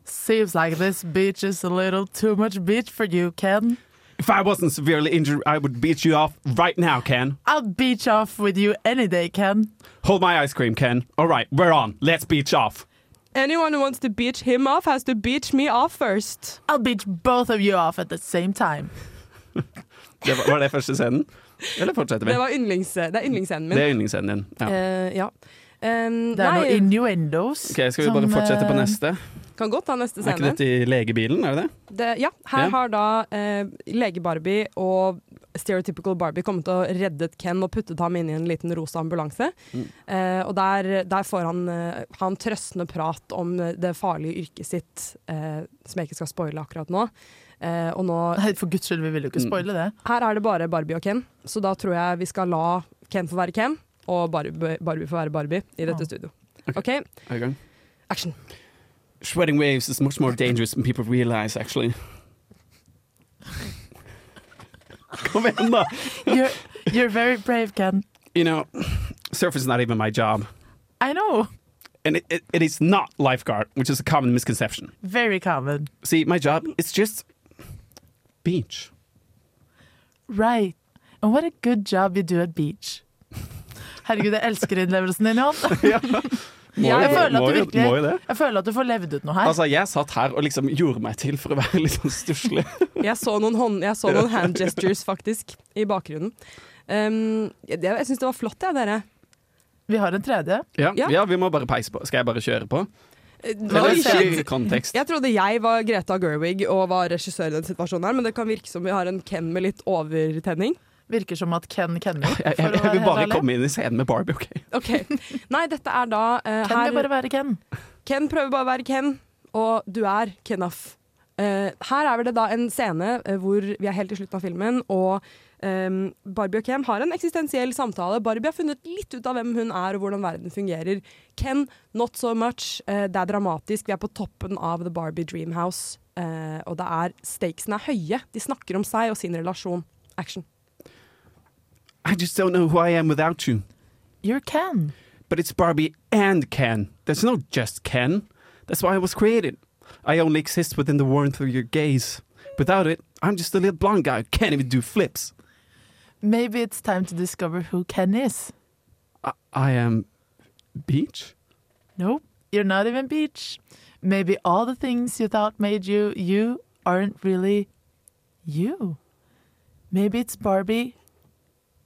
Seems like this beach is a little too much beach for you, Ken.
If I wasn't severely injured, I would beat you off right now, Ken.
I'll beach off with you any day, Ken.
Hold my ice cream, Ken. All right, we're on. Let's beach off.
Anyone who wants to beach him off, has to beach me off first.
I'll beach both of you off at the same time.
Det var, var det første scenen? Eller fortsetter vi?
Det, var yndlings, det er yndlingsscenen min.
Det er yndlingsscenen din. Ja.
Eh, ja. Um,
Det er
nei,
noen innuendos.
Ok, Skal vi bare
som,
fortsette på
eh,
neste?
kan godt ta neste
Er ikke
scene.
dette i legebilen, er det det?
Det, ja, her
Ja.
har da eh, lege-Barbie og stereotypical Barbie kommet og reddet Ken og puttet ham inn i en liten rosa ambulanse.
Mm.
Eh, og der, der får han, eh, han trøstende prat om eh, det farlige yrket sitt, eh, som jeg ikke skal spoile akkurat nå. Eh, og nå
Nei, for guds skyld, vi vil jo
Mm.
ikke spoile det.
Her er det bare Barbie og Ken, så da tror jeg vi skal la Ken få være Ken, og Barbie, Barbie få være Barbie i dette
Ja.
studio.
Ok.
OK,
Er i gang?
action.
Shredding waves is much more dangerous than people realize, actually. Kom igjen, da!
You're, you're very brave, Ken.
You know, surf is not even my job.
I know.
And it, it, it is not lifeguard, which is a common misconception.
Very common.
See, my job is just beach.
Right. And what a good job you do at beach. Herregud, jeg elsker innlevelsen din, Johan.
Må
Jeg
jo-
føler at du
må jo-
virkelig
må jo det.
Jeg føler at du får levd ut noe her.
Altså, jeg satt her og liksom gjorde meg til for å være litt sånn stusslig.
Jeg så noen, hånd, jeg så noen hand gestures, faktisk, i bakgrunnen. Um, det, jeg syns det var flott, jeg, dere.
Vi har en tredje.
Ja,
Ja.
ja, vi må bare peise på. Skal jeg bare kjøre på?
Oi,
Eller
shit.
ikke i kontekst.
Jeg trodde jeg var Greta Gerwig og var regissør i den situasjonen her, men det kan virke som vi har en Ken med litt overtenning.
Virker som at Ken kenner.
Jeg, jeg, jeg vil bare komme inn i scenen med Barbie, OK?
Ok, Nei, dette er da eh,
Ken vil
her,
bare være Ken.
Ken prøver bare å være Ken, og du er Kenaf. Eh, her er vel det da en scene eh, hvor vi er helt i slutten av filmen, og ehm, Barbie og Ken har en eksistensiell samtale. Barbie har funnet litt ut av hvem hun er og hvordan verden fungerer. Ken, not so much. Eh, det er dramatisk. Vi er på toppen av The Barbie Dreamhouse, uh, og det er stakesene er høye. De snakker om seg og sin relasjon. Action.
I just don't know who I am without you.
You're Ken.
But it's Barbie and Ken. There's no just Ken. That's why I was created. I only exist within the warmth of your gaze. Without it, I'm just a little blonde guy who can't even do flips.
Maybe it's time to discover who Ken is.
I, I am beach?
Nope, you're not even beach. Maybe all the things you thought made you you aren't really you. Maybe it's Barbie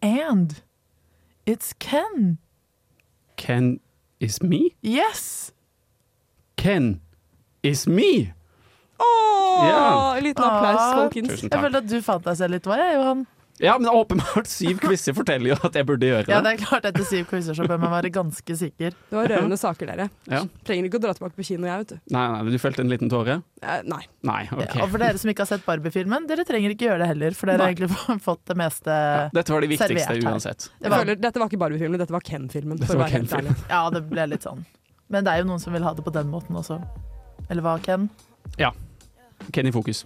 and It's Ken.
Ken is me?
Yes!
Ken is me!
Åh,
Ja.
En liten applaus,
Ah.
folkens.
Tusen
Jeg
takk.
følte at du fant deg selv litt. Hva er Johan?
Ja, men åpenbart syv quizer forteller jo at jeg burde gjøre det.
Ja, det er klart etter syv quizer så bør man være ganske sikker.
Det var rørende saker, dere.
Ja.
Trenger ikke å dra tilbake på kino, jeg, vet du.
Nei, nei, du felte en liten tåre?
Eh, nei.
Nei, ok.
er- Og for dere som ikke har sett Barbie-filmen, dere trenger ikke gjøre det heller, for dere har egentlig fått det meste
Ja, Dette var det viktigste
servert eh, her.
uansett.
Det
Jeg
var,
føler, dette var ikke Barbie-filmen, dette var Ken-filmen.
Dette
for å
var
være helt
Ken-filmen.
ærlig.
Ja, det ble litt sånn. Men det er jo noen som vil ha det på den måten også. Eller hva, Ken?
Ken i fokus.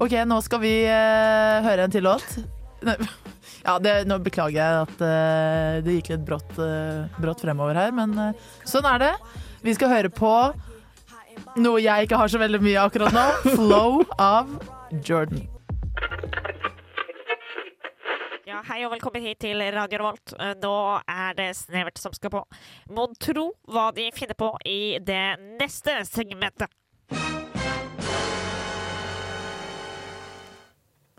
Ok, nå skal vi eh, høre en til låt. Nei, Ja, det, nå beklager jeg at eh, det gikk litt brått, eh, brått fremover her, men eh, sånn er det. Vi skal høre på noe jeg ikke har så veldig mye av akkurat nå. Flow av Jordan.
Ja, hei og velkommen hit til Radio Revolt. Eh, Nå er det snevert som skal på. Mon tro hva de finner på i det neste segmentet.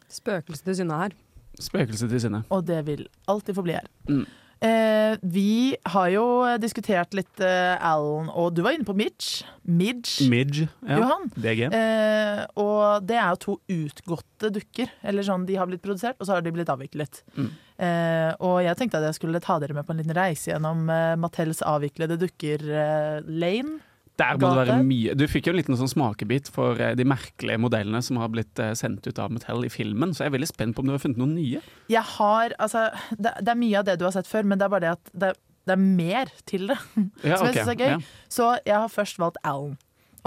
Spøkelset til Synne her.
Spøkelset til sinne.
og det vil alltid forbli her.
Mm.
Eh, vi har jo diskutert litt eh, Alan, og du var inne på Midge. Midge,
Midge. Ja.
Johan.
DG.
Eh, og det er jo to utgåtte dukker. Eller sånn, De har blitt produsert, og så har de blitt avviklet.
Mm.
Eh, og jeg tenkte at jeg skulle ta dere med på en liten reise gjennom eh, Mattels avviklede eh, dukker-lane.
Der må det være
Gate.
mye Du fikk jo en liten sånn smakebit for eh, de merkelige modellene som har blitt eh, sendt ut av Mattel i filmen, så jeg er veldig spent på om du har funnet noen nye.
Jeg har, altså, det, det er mye av det du har sett før, men det er bare det at det, det er mer til det.
Ja,
Som jeg
ok.
synes er gøy.
Ja.
Så jeg har først valgt Alan.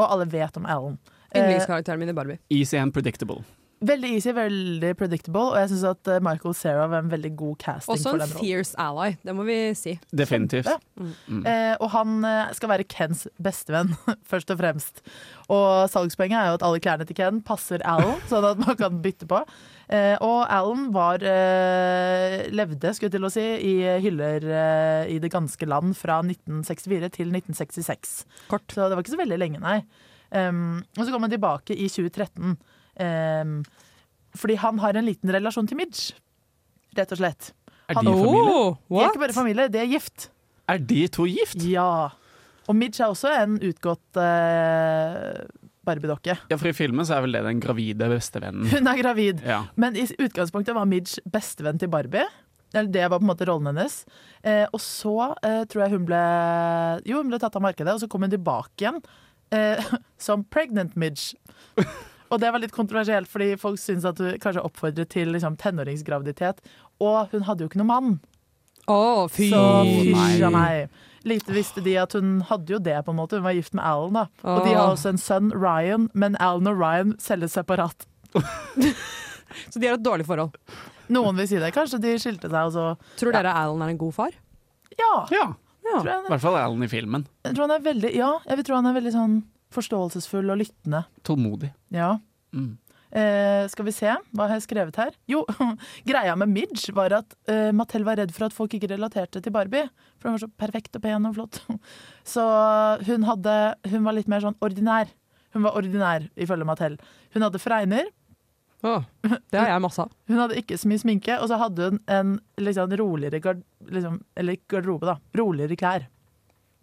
Og alle vet om Alan. Eh,
Yndlingskarakteren min i Barbie.
Easy and predictable.
veldig easy, veldig predictable, og jeg syns at eh, Michael Cera var en veldig god casting
Også
for
en
den rollen.
fierce ally, det må vi si.
Definitivt. Mm.
Kjempe. Eh, og han eh, skal være Kens bestevenn, først og fremst. Og salgspoenget er jo at alle klærne til Ken passer Alan, sånn at man kan bytte på. Eh, og Alan var eh, levde, skulle jeg til å si, i hyller eh, i det ganske land fra 1964 til 1966.
Kort.
Så det var ikke så veldig lenge, nei. Um, og så kom han tilbake i 2013. Um, fordi han har en liten relasjon til Midge, rett og slett.
Er
Han-
de familie?
De er ikke bare familie, de er gift.
Er de to gift?
Ja. Og Midge er også en utgått eh, Barbie-dokke.
Ja, for i filmen så er vel det den gravide bestevennen.
Hun er gravid.
Ja.
Men i utgangspunktet var Midge bestevenn til Barbie. Eller det var på en måte rollen hennes. Eh, og så eh, tror jeg hun ble Jo, hun ble tatt av markedet, og så kom hun tilbake igjen eh, som pregnant Midge. Og det var litt kontroversielt, fordi folk syntes at hun kanskje oppfordret til liksom, tenåringsgraviditet. Og hun hadde jo ikke noen mann.
Å, fy!
Så fysj
nei.
av meg. Lite visste de at hun hadde jo det, på en måte. Hun var gift med Alan, da. Og de
Åh.
har også en sønn, Ryan, men Alan og Ryan selges separat.
Så de har et dårlig forhold.
Noen vil si det. Kanskje de skilte seg, og så
Tror dere Alan er en god far?
Ja!
ja.
Tror
I
jeg,
hvert fall Alan i filmen.
jeg tror han er veldig Ja, jeg vil tro han er veldig sånn forståelsesfull og lyttende.
Tålmodig.
Ja.
Mm.
Eh, skal vi se, hva har jeg skrevet her? Jo, greia med Midge var at eh, Mattel var redd for at folk ikke relaterte til Barbie. For hun var så perfekt og pen og flott. Så eh, hun, hadde, hun var litt mer sånn ordinær. Hun var ordinær, ifølge Mattel. Hun hadde fregner,
Åh, Det har jeg masse av.
hun hadde ikke så mye sminke, og så hadde hun en liksom, roligere gard, liksom, eller ikke garderobe, da. Roligere klær.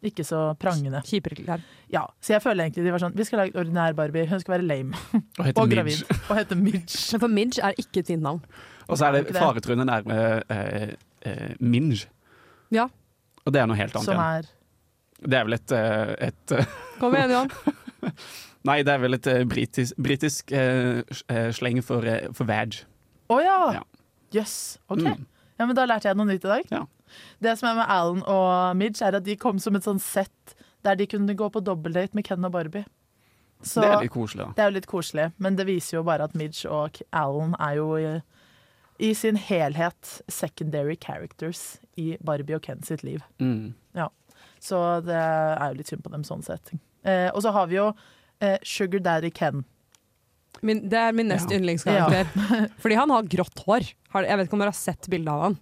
Ikke så prangende.
Kjipere klær.
Ja, Så jeg føler egentlig de var sånn Vi skal lage en ordinær Barbie, hun skal være lame
Og heter
og gravid.
Midge.
Og hete Midge.
Men for Midge er ikke et fint navn.
Og så er det
Ikke det.
faretruende nærme eh, eh, Minge.
Ja.
Og det er noe helt annet.
Som
igjen.
er
Det er vel et, eh, et eh,
Kom igjen, Johan.
Nei, det er vel et eh, britisk, britisk eh, s- eh, sleng for, eh, for vag.
Å
Ja.
ja! Jøss. OK.
Mm.
Ja, men Da lærte jeg noe nytt i dag.
Ja.
Det som er med Alan og Midge, er at de kom som et sånn sett der de kunne gå på dobbeltdate med Ken og Barbie. Så
Det er litt koselig, da.
Det er jo litt koselig, men det viser jo bare at Midge og K- Alan er jo i, i sin helhet secondary characters i Barbie og Ken sitt liv.
Mm.
Så det er jo litt synd på dem sånn sett. Eh, og så har vi jo eh, Sugar Daddy Ken.
Min, det er min nest
Ja.
yndlingskarakter. Fordi han har grått hår. Har, jeg vet ikke om dere har sett bilde av han.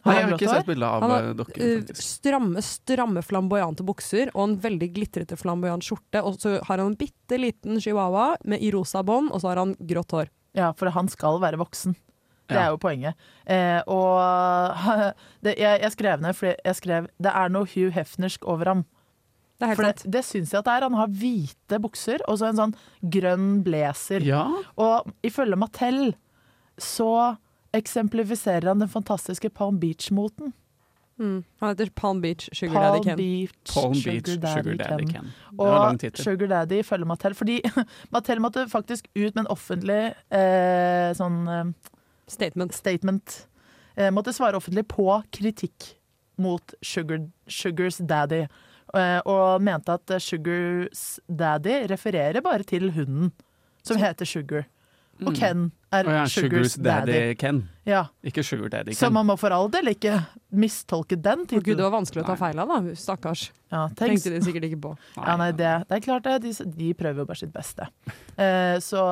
Nei,
Har
jeg
han
har ikke
grått hår?
sett bilde av
Han
eh,
har
dere,
eh,
faktisk.
stramme, stramme flamboyante bukser og en veldig glitrete flamboyant skjorte. Og så har han en bitte liten chihuahua med i rosa bånd, og så har han grått hår.
Ja, for han skal være voksen. Det
Ja.
er jo poenget. Eh, og det, jeg, jeg skrev ned fordi jeg skrev Det er noe Hugh Hefnersk over ham.
Det er helt
For
sant.
det, det syns jeg at det er. Han har hvite bukser og så en sånn grønn blazer.
Ja.
Og ifølge Mattel så eksemplifiserer han den fantastiske Palm Beach-moten.
Mm. Han heter Palm Beach Sugar Daddy
Palm
Ken.
Beach,
Palm Beach
Sugar Daddy, Ken.
Ken. Det var lang
Og
tittel.
Sugar Daddy følger Mattel. Fordi Mattel måtte faktisk ut med en offentlig eh, sånn eh,
Statement.
statement. Eh, måtte svare offentlig på kritikk mot Sugar, Sugars Daddy. Eh, og mente at eh, Sugars Daddy refererer bare til hunden som heter Sugar.
Mm.
Og Ken er
Mm. Å ja,
Sugars Daddy.
Ken.
Ja.
Ikke Sugar Daddy
Så
Ken.
man må for all del ikke mistolke den
Å Gud, det
tittelen.
var vanskelig å ta feil av, da. Stakkars.
Ja, tenk-
Tenkte de sikkert ikke på.
Ja, nei, det, det er klart det. De, de prøver jo bare sitt beste. Eh, så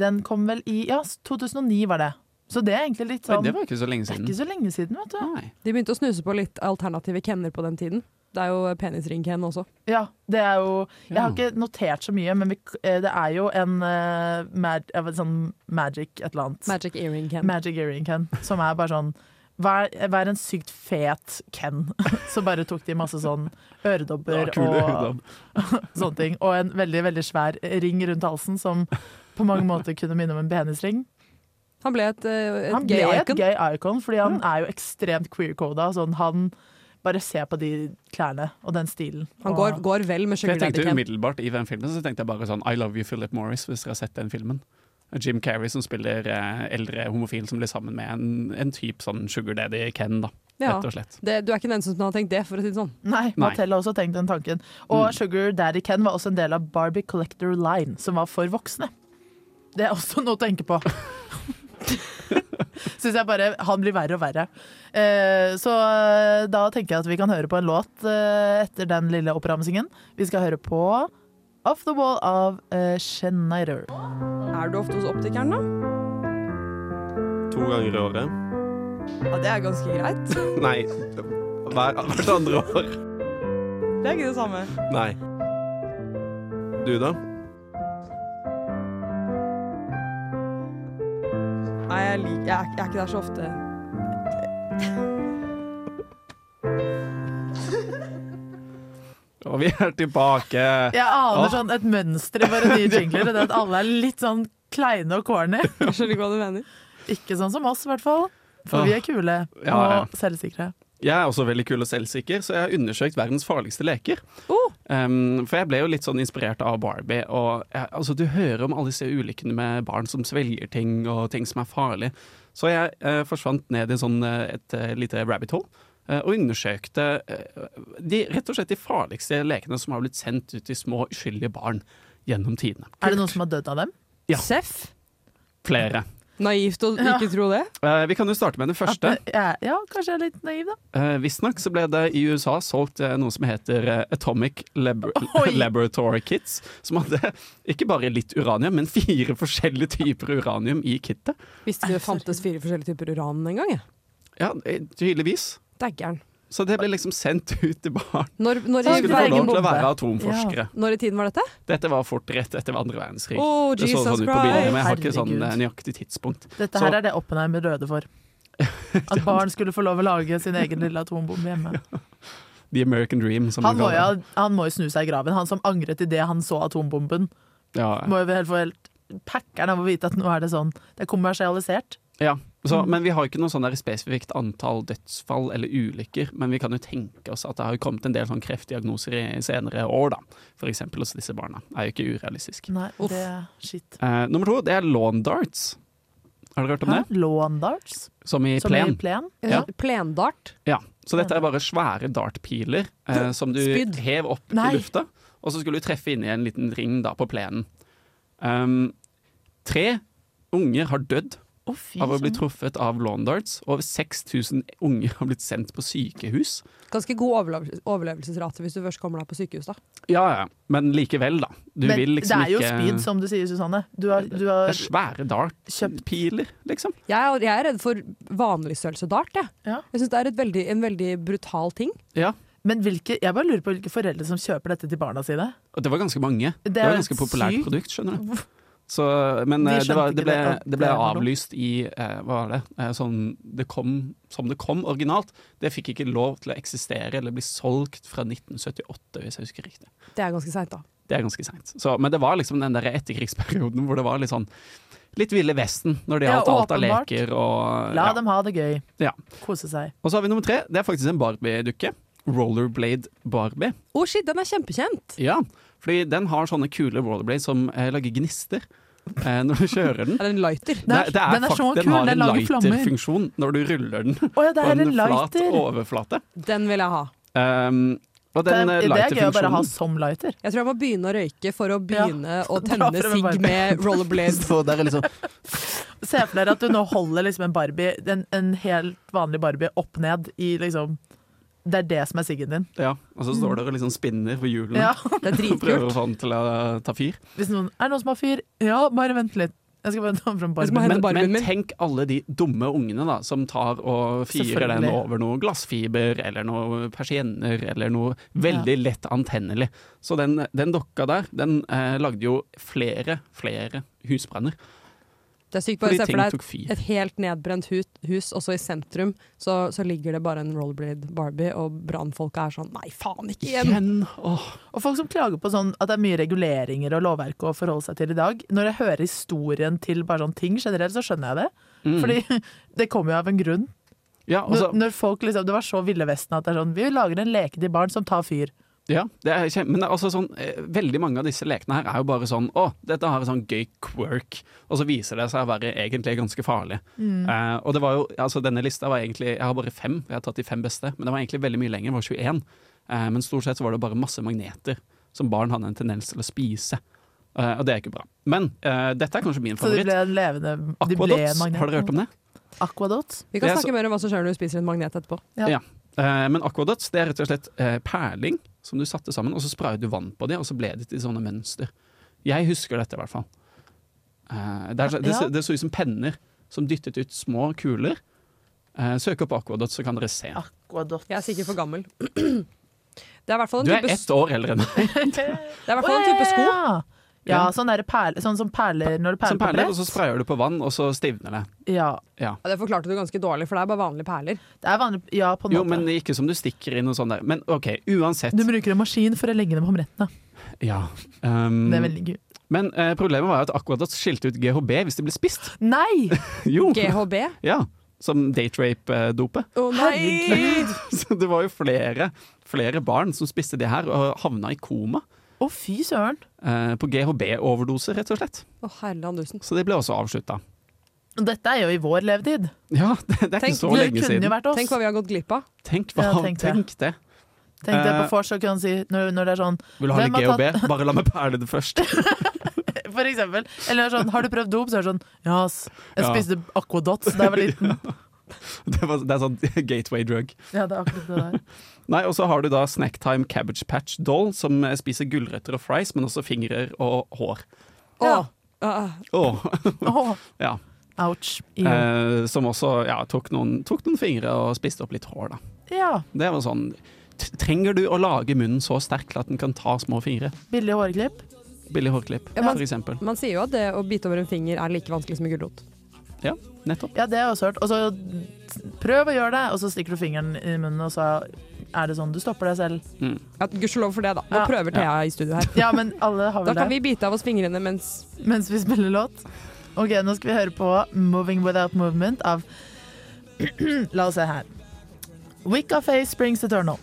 den kom vel i Ja, 2009 var det. Så det er egentlig litt
Oi,
sånn
det var ikke så lenge
Det er
siden.
ikke så lenge siden, vet du.
Nei.
De begynte å snuse på litt alternative kenner på den tiden. Det er jo penisring-ken også.
Ja, det er jo Jeg
Mm.
Ja.
har ikke notert så mye, men vi, eh, det er jo en eh, mag, eh, sånn magic et eller annet.
Magic earring-ken.
Magic earring Ken, som er bare sånn Vær, vær en sykt fet Ken. Så bare tok de masse sånn øredobber
Ja,
og
kule øredobb.
sånne ting. Og en veldig veldig svær ring rundt halsen som på mange måter kunne minne om en penisring.
Han ble et, eh, et
Han
gay
ble et
icon.
gay icon, fordi han er jo ekstremt queer-coda. Sånn, han bare ser på de klærne og den stilen.
Han
og,
går, går vel med
For jeg
Sugar Daddy
tenkte
Ken.
umiddelbart i den filmen så tenkte jeg bare sånn I love you, Philip Morris, hvis dere har sett den filmen. Jim Carrey som spiller eh, eldre homofil som blir sammen med en, en type sånn Sugar Daddy Ken, da,
Ja.
rett og slett.
Det, du er ikke den eneste som har tenkt det, for å si det sånn.
Nei, Mattel har også tenkt den tanken.
Mm.
Og Sugar Daddy Ken var også en del av Barbie Collector Line, som var for voksne. Det er også noe å tenke på. Syns jeg bare Han blir verre og verre. Eh, så eh, da tenker jeg at vi kan høre på en låt eh, etter den lille oppramsingen. Vi skal høre på Off The Wall av eh, Schneider.
Er du ofte hos optikeren, da?
To ganger i året?
Ja, det er ganske greit.
Nei. Hver, hvert andre år.
Det er ikke det samme.
Nei. Du, da?
Nei, jeg, lik, jeg, er- jeg er ikke der så ofte.
Og vi er tilbake!
Jeg aner
Åh.
sånn et mønster i våre nye jingler, og det er at alle er litt sånn kleine og corny.
Jeg skjønner ikke hva du mener.
Ikke sånn som oss, i hvert fall. For
Åh.
vi er kule
Ja, ja.
og selvsikre.
Jeg er også veldig kul og selvsikker, så jeg har undersøkt verdens farligste leker.
Oh.
Um, for jeg ble jo litt sånn inspirert av Barbie. Og jeg, altså, du hører om alle disse ulykkene med barn som svelger ting, og ting som er farlig. Så jeg eh, forsvant ned i en sånn, eh, et eh, lite rabbit hole. eh, Og undersøkte eh, de, rett og slett de farligste lekene som har blitt sendt ut til små uskyldige barn gjennom tidene.
Er det noen som har dødd av dem?
Ja.
Seff.
Flere.
Naivt å
Ja.
ikke tro det.
Eh, vi kan jo starte med den første.
At, ja, ja, kanskje jeg er litt naiv, da.
Uh, Visstnok så ble det i USA solgt eh, noe som heter eh, Atomic Lab
Oi.
Laboratory Kits. Som hadde ikke bare litt uranium, men fire forskjellige typer uranium i kittet.
Visste ikke det fantes fire forskjellige typer uran engang. jeg.
Ja, eh, tydeligvis.
Dæggeren.
Så det ble liksom sendt ut til barn.
Når, når,
De
Så
i,
skulle få
egen
lov til å
bombe.
være atomforskere.
når i tiden var dette?
Dette var fort rett etter andre verdenskrig.
Oh,
det så
Jesus
sånn ut på bildet,
Christ!
men jeg har ikke sånn
Herregud.
eh, nøyaktig tidspunkt.
Dette
Så-
her er det Oppenheimer døde for. At barn skulle få lov å lage sin egen lille atombombe hjemme.
The American Dream, som
Han
de
må, jo,
kaller det.
han må jo snu seg i graven. Han som angret idet han så atombomben.
Ja,
Må jo helt få helt Packeren av å vite at nå er det sånn. Det er kommersialisert.
Ja, så,
Mm.
men vi har jo ikke noe sånn der spesifikt antall dødsfall eller ulykker, men vi kan jo tenke oss at det har jo kommet en del sånn kreftdiagnoser i senere år, da. For eksempel hos disse barna. Er jo ikke urealistisk.
Nei,
Uff.
det Shit.
Eh, nummer to, det er lawn darts. Har dere hørt om
Hæ?
det?
Lawn darts?
Som i
Som i
plen.
plen?
Ja.
Plendart.
Ja. Så dette er bare svære dartpiler eh, som du
Spyd.
hev opp
Nei.
i lufta, og så skulle du treffe inn i en liten ring da på plenen. Um, tre unger har dødd
Å, fy
av å bli
søren.
truffet av lawn darts. Over 6000 unger har blitt sendt på sykehus.
Ganske god overlev- overlevelsesrate hvis du først kommer deg på sykehus, da.
Ja, ja, men likevel, da. Du
Men
vil liksom
det er jo
ikke
speed, som du sier, Susanne. Du har, du
Det
har
er svære
kjøpt
dartpiler, liksom.
Jeg er, jeg er redd for vanlig størrelse dart, jeg.
Ja.
Jeg syns det er et veldig, en veldig brutal ting.
Ja.
Men hvilke, jeg bare lurer på hvilke foreldre som kjøper dette til barna sine.
Og det var ganske mange. Det,
er
var et ganske populært
sykt.
produkt, skjønner du. Så, men
Vi
eh,
skjønte
det, var,
ikke
det, ble,
det, ja.
det ble
Ja, pardon.
avlyst i eh, Hva var det? Eh, sånn, det kom, som det kom originalt. Det fikk ikke lov til å eksistere eller bli solgt fra 1978, hvis jeg husker riktig.
Det er ganske seint, da.
Det er ganske seint. Så- Men det var liksom den der etterkrigsperioden hvor det var litt sånn Litt Ville Vesten når det
Ja,
gjaldt alt av
åpenbart.
leker og
La
ja.
dem ha det gøy.
Ja.
Kose seg.
Og så har vi nummer tre. Det er faktisk en Barbie-dukke. Rollerblade Barbie.
Å, shit, den er kjempekjent!
Ja, fordi den har sånne kule rollerblades som eh, lager gnister eh, når du kjører den.
Er det en lighter?
Den er- den er så kul,
fakt- Den har
den
en
lager flammer.
lighterfunksjon når du ruller den
Å ja, det
på
her er
en
en
flat
lighter!
overflate.
Den vil jeg ha.
Um, og
Det
den
er,
eh,
det er gøy å bare ha
lighterfunksjonen
som lighter.
Jeg tror jeg må begynne å røyke for å begynne å
Dra
tenne
frem en
sigg
Barbie.
med rollerblades.
Så der er liksom
Se for dere at du nå holder liksom en Barbie, en, en helt vanlig Barbie, opp ned i liksom Det er det som er siggen din.
Ja, og så står der og liksom spinner på hjulene
Ja.
Det er
og prøver
dritkult.
å få den til å ta fyr.
Hvis noen Er det noen som har fyr? Ja, bare vent litt. Jeg skal bare ta fram
Jeg skal bare
Barbie.
hente
Men,
Barbien
men
min.
tenk alle de dumme ungene da, som tar og firer den
Selvfølgelig.
over noe glassfiber eller noe persienner eller noe veldig lett antennelig. Så den, den dokka der, den eh, lagde jo flere, flere husbrenner.
Det er sykt bare å
Fordi
se
ting
for deg
tok fyr.
et helt nedbrent hu- hus, og så i sentrum så, så ligger det bare en rollerblade Barbie, og brannfolka er sånn Nei, faen, ikke igjen!
Igjen! Åh,
Og folk som klager på sånn at det er mye reguleringer og lovverk å forholde seg til i dag. Når jeg hører historien til bare sånne ting generelt, så skjønner jeg det. Fordi det kommer jo av en grunn.
mm. ja,
Når,
altså,
når folk liksom, Det var så Ville Vesten at det er sånn Vi lager en leke til barn som tar fyr.
ja, det er kjem- men det er altså sånn, eh, veldig mange av disse lekene her er jo bare sånn Å, dette har en sånn gøy quirk, og så viser det seg å være egentlig ganske farlig.
Mm.
Eh, og det var jo, altså Denne lista var egentlig Jeg har bare fem, jeg har tatt de fem beste, men det var egentlig veldig mye lenger. Det var 21. Eh, men stort sett så var det bare masse magneter som barn hadde en tendens til å spise. Eh, og det er ikke bra. Men eh, dette er kanskje min
Så de
favoritt.
ble en levende de ble en
Aquadots,
magnet. Mm,
har dere hørt om det?
Aquadots?
Vi kan
Det er
snakke mer om hva som skjer når du spiser en magnet etterpå.
Eh, men aquadots det er rett og slett eh, perling som du satte sammen, og så sprayet du vann på det, og så ble det til sånne mønster. Jeg husker dette i hvert fall. Eh, det, er, så- det,
Ja.
så- det så ut som penner som dyttet ut små kuler. Eh, søk opp aquadots, så kan dere se.
Aquadots.
Jeg er sikkert for gammel. Det er i hvert fall en
Du er
type,
ett år eldre enn meg.
det er i hvert fall en type sko.
Ja, ja sånn, der perle, sånn som perler når du perler
Som perler,
på
og så
brett.
sprayer du på vann, og så stivner det.
Ja,
Ja, det forklarte du ganske dårlig, for det er bare vanlige perler.
det er vanlig. Ja, på en
Jo,
måte.
men ikke som du stikker inn og sånn der. Men OK, uansett.
Du bruker en maskin for å legge dem om rettene.
Ja. Um,
Det er veldig gøy.
men eh, problemet var jo at aquadots skilte ut GHB hvis de ble spist.
Nei!
Jo!
GHB.
Ja, som date rape-dopet.
Å nei!
Herregud!
Så det var jo flere, flere barn som spiste de her og havna i koma.
Å, fy søren.
eh, På GHB-overdose, rett og slett.
Å, herland dusen.
Så det ble også avslutta.
Og Dette er jo i vår levetid.
Ja, det, det er
Tenk-
ikke så
det
lenge
kunne jo
siden.
vært oss.
Tenk hva vi har gått glipp av.
Tenk, hva,
Ja,
tenk,
tenk det.
det.
Tenk deg på
Eh.
vors og kan si når, når det er sånn
Vil du ha litt
Hvem har
GHB? Bare la meg perle det først.
For eksempel. Eller sånn Har du prøvd dop? Så er det sånn Ja, ass. Jeg
Ja.
spiste Aquadots da jeg var liten.
Det, var, det er sånn gateway drug.
Ja, det er akkurat det der.
Nei, og så har du da Snacktime Cabbage Patch Doll, som eh, spiser gulrøtter og fries, men også fingrer og hår.
Å,
Ja.
ah,
Åh,
Åh.
Ja.
Ouch. Ew.
eh, som også ja, tok, noen, tok noen fingre og spiste opp litt hår, da.
ja.
Det var sånn t- Trenger du å lage munnen så sterk til at den kan ta små fingre?
Billig hårklipp.
Billig hårklipp,
Ja, men-
for eksempel.
Man sier jo at det å bite over en finger er like vanskelig som en gulrot.
Ja, nettopp.
Ja, det har jeg også hørt. Og så prøv å gjøre det, og så stikker du fingeren i munnen, og så er det sånn du stopper deg selv.
Ja, Gudskjelov for det, da. Nå
Ja.
prøver Thea i studio her.
Ja, men alle har
Da
vel
kan
det
vi bite av oss fingrene mens
mens vi spiller låt. Ok, nå skal vi høre på 'Moving Without Movement' av La oss se her. Wicca Face Springs Eternal.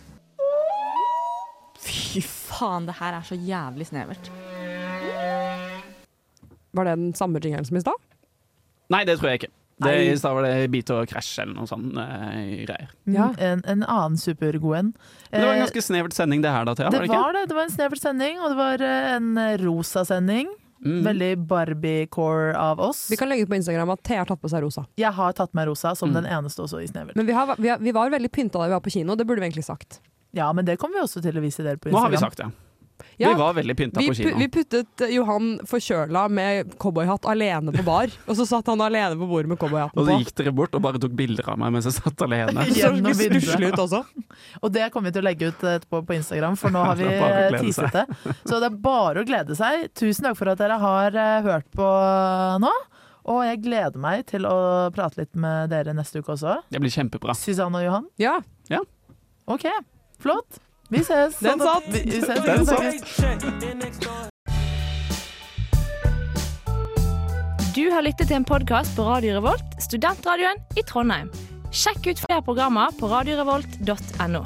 Fy faen, det her er så jævlig snevert.
Var det den samme jingeren som i stad?
Nei, det tror jeg ikke. Det,
Nei.
I stad var det bit og krasj eller noe sånt eh, greier.
Mm.
Ja.
En, en annen supergod en.
Men det var en
Eh,
ganske snevert sending det her, da, Thea?
det
Var det ikke?
var det. Det var en snever sending, og det var eh, en rosa sending.
Mm.
Veldig Barbie-core av oss.
Vi kan legge ut på Instagram at Thea har tatt på seg rosa.
Jeg har tatt med rosa som
Mm.
den eneste også i snever.
Men vi, har, vi, har, vi var veldig pynta da vi var på kino, det burde vi egentlig sagt.
Ja, men det kommer vi også til å vise dere på
Nå har vi
Instagram.
sagt det. Vi var veldig pynta
vi
på
pu-
kino.
Vi puttet eh, Johan forkjøla med cowboyhatt alene på bar, og så satt han alene på bordet med cowboyhatten
og så
på.
gikk dere bort og bare tok bilder av meg mens jeg satt alene.
Gjennom
Så
vinduet.
stusslig ut også.
Og det kommer vi til å legge ut eh, etterpå på Instagram, for nå har vi
Det er bare å glede
teaset det. Så det er bare å glede seg. Tusen takk for at dere har eh, hørt på eh, nå. Og jeg gleder meg til å prate litt med dere neste uke også.
Det blir kjempebra.
Susanne og Johan.
Ja,
OK, flott. Vi ses.
Den satt.
Vi, vi ses.
Den satt.
Du har lyttet til en podkast på Radio Revolt, studentradioen i Trondheim. Sjekk ut flere programmer på radiorevolt.no.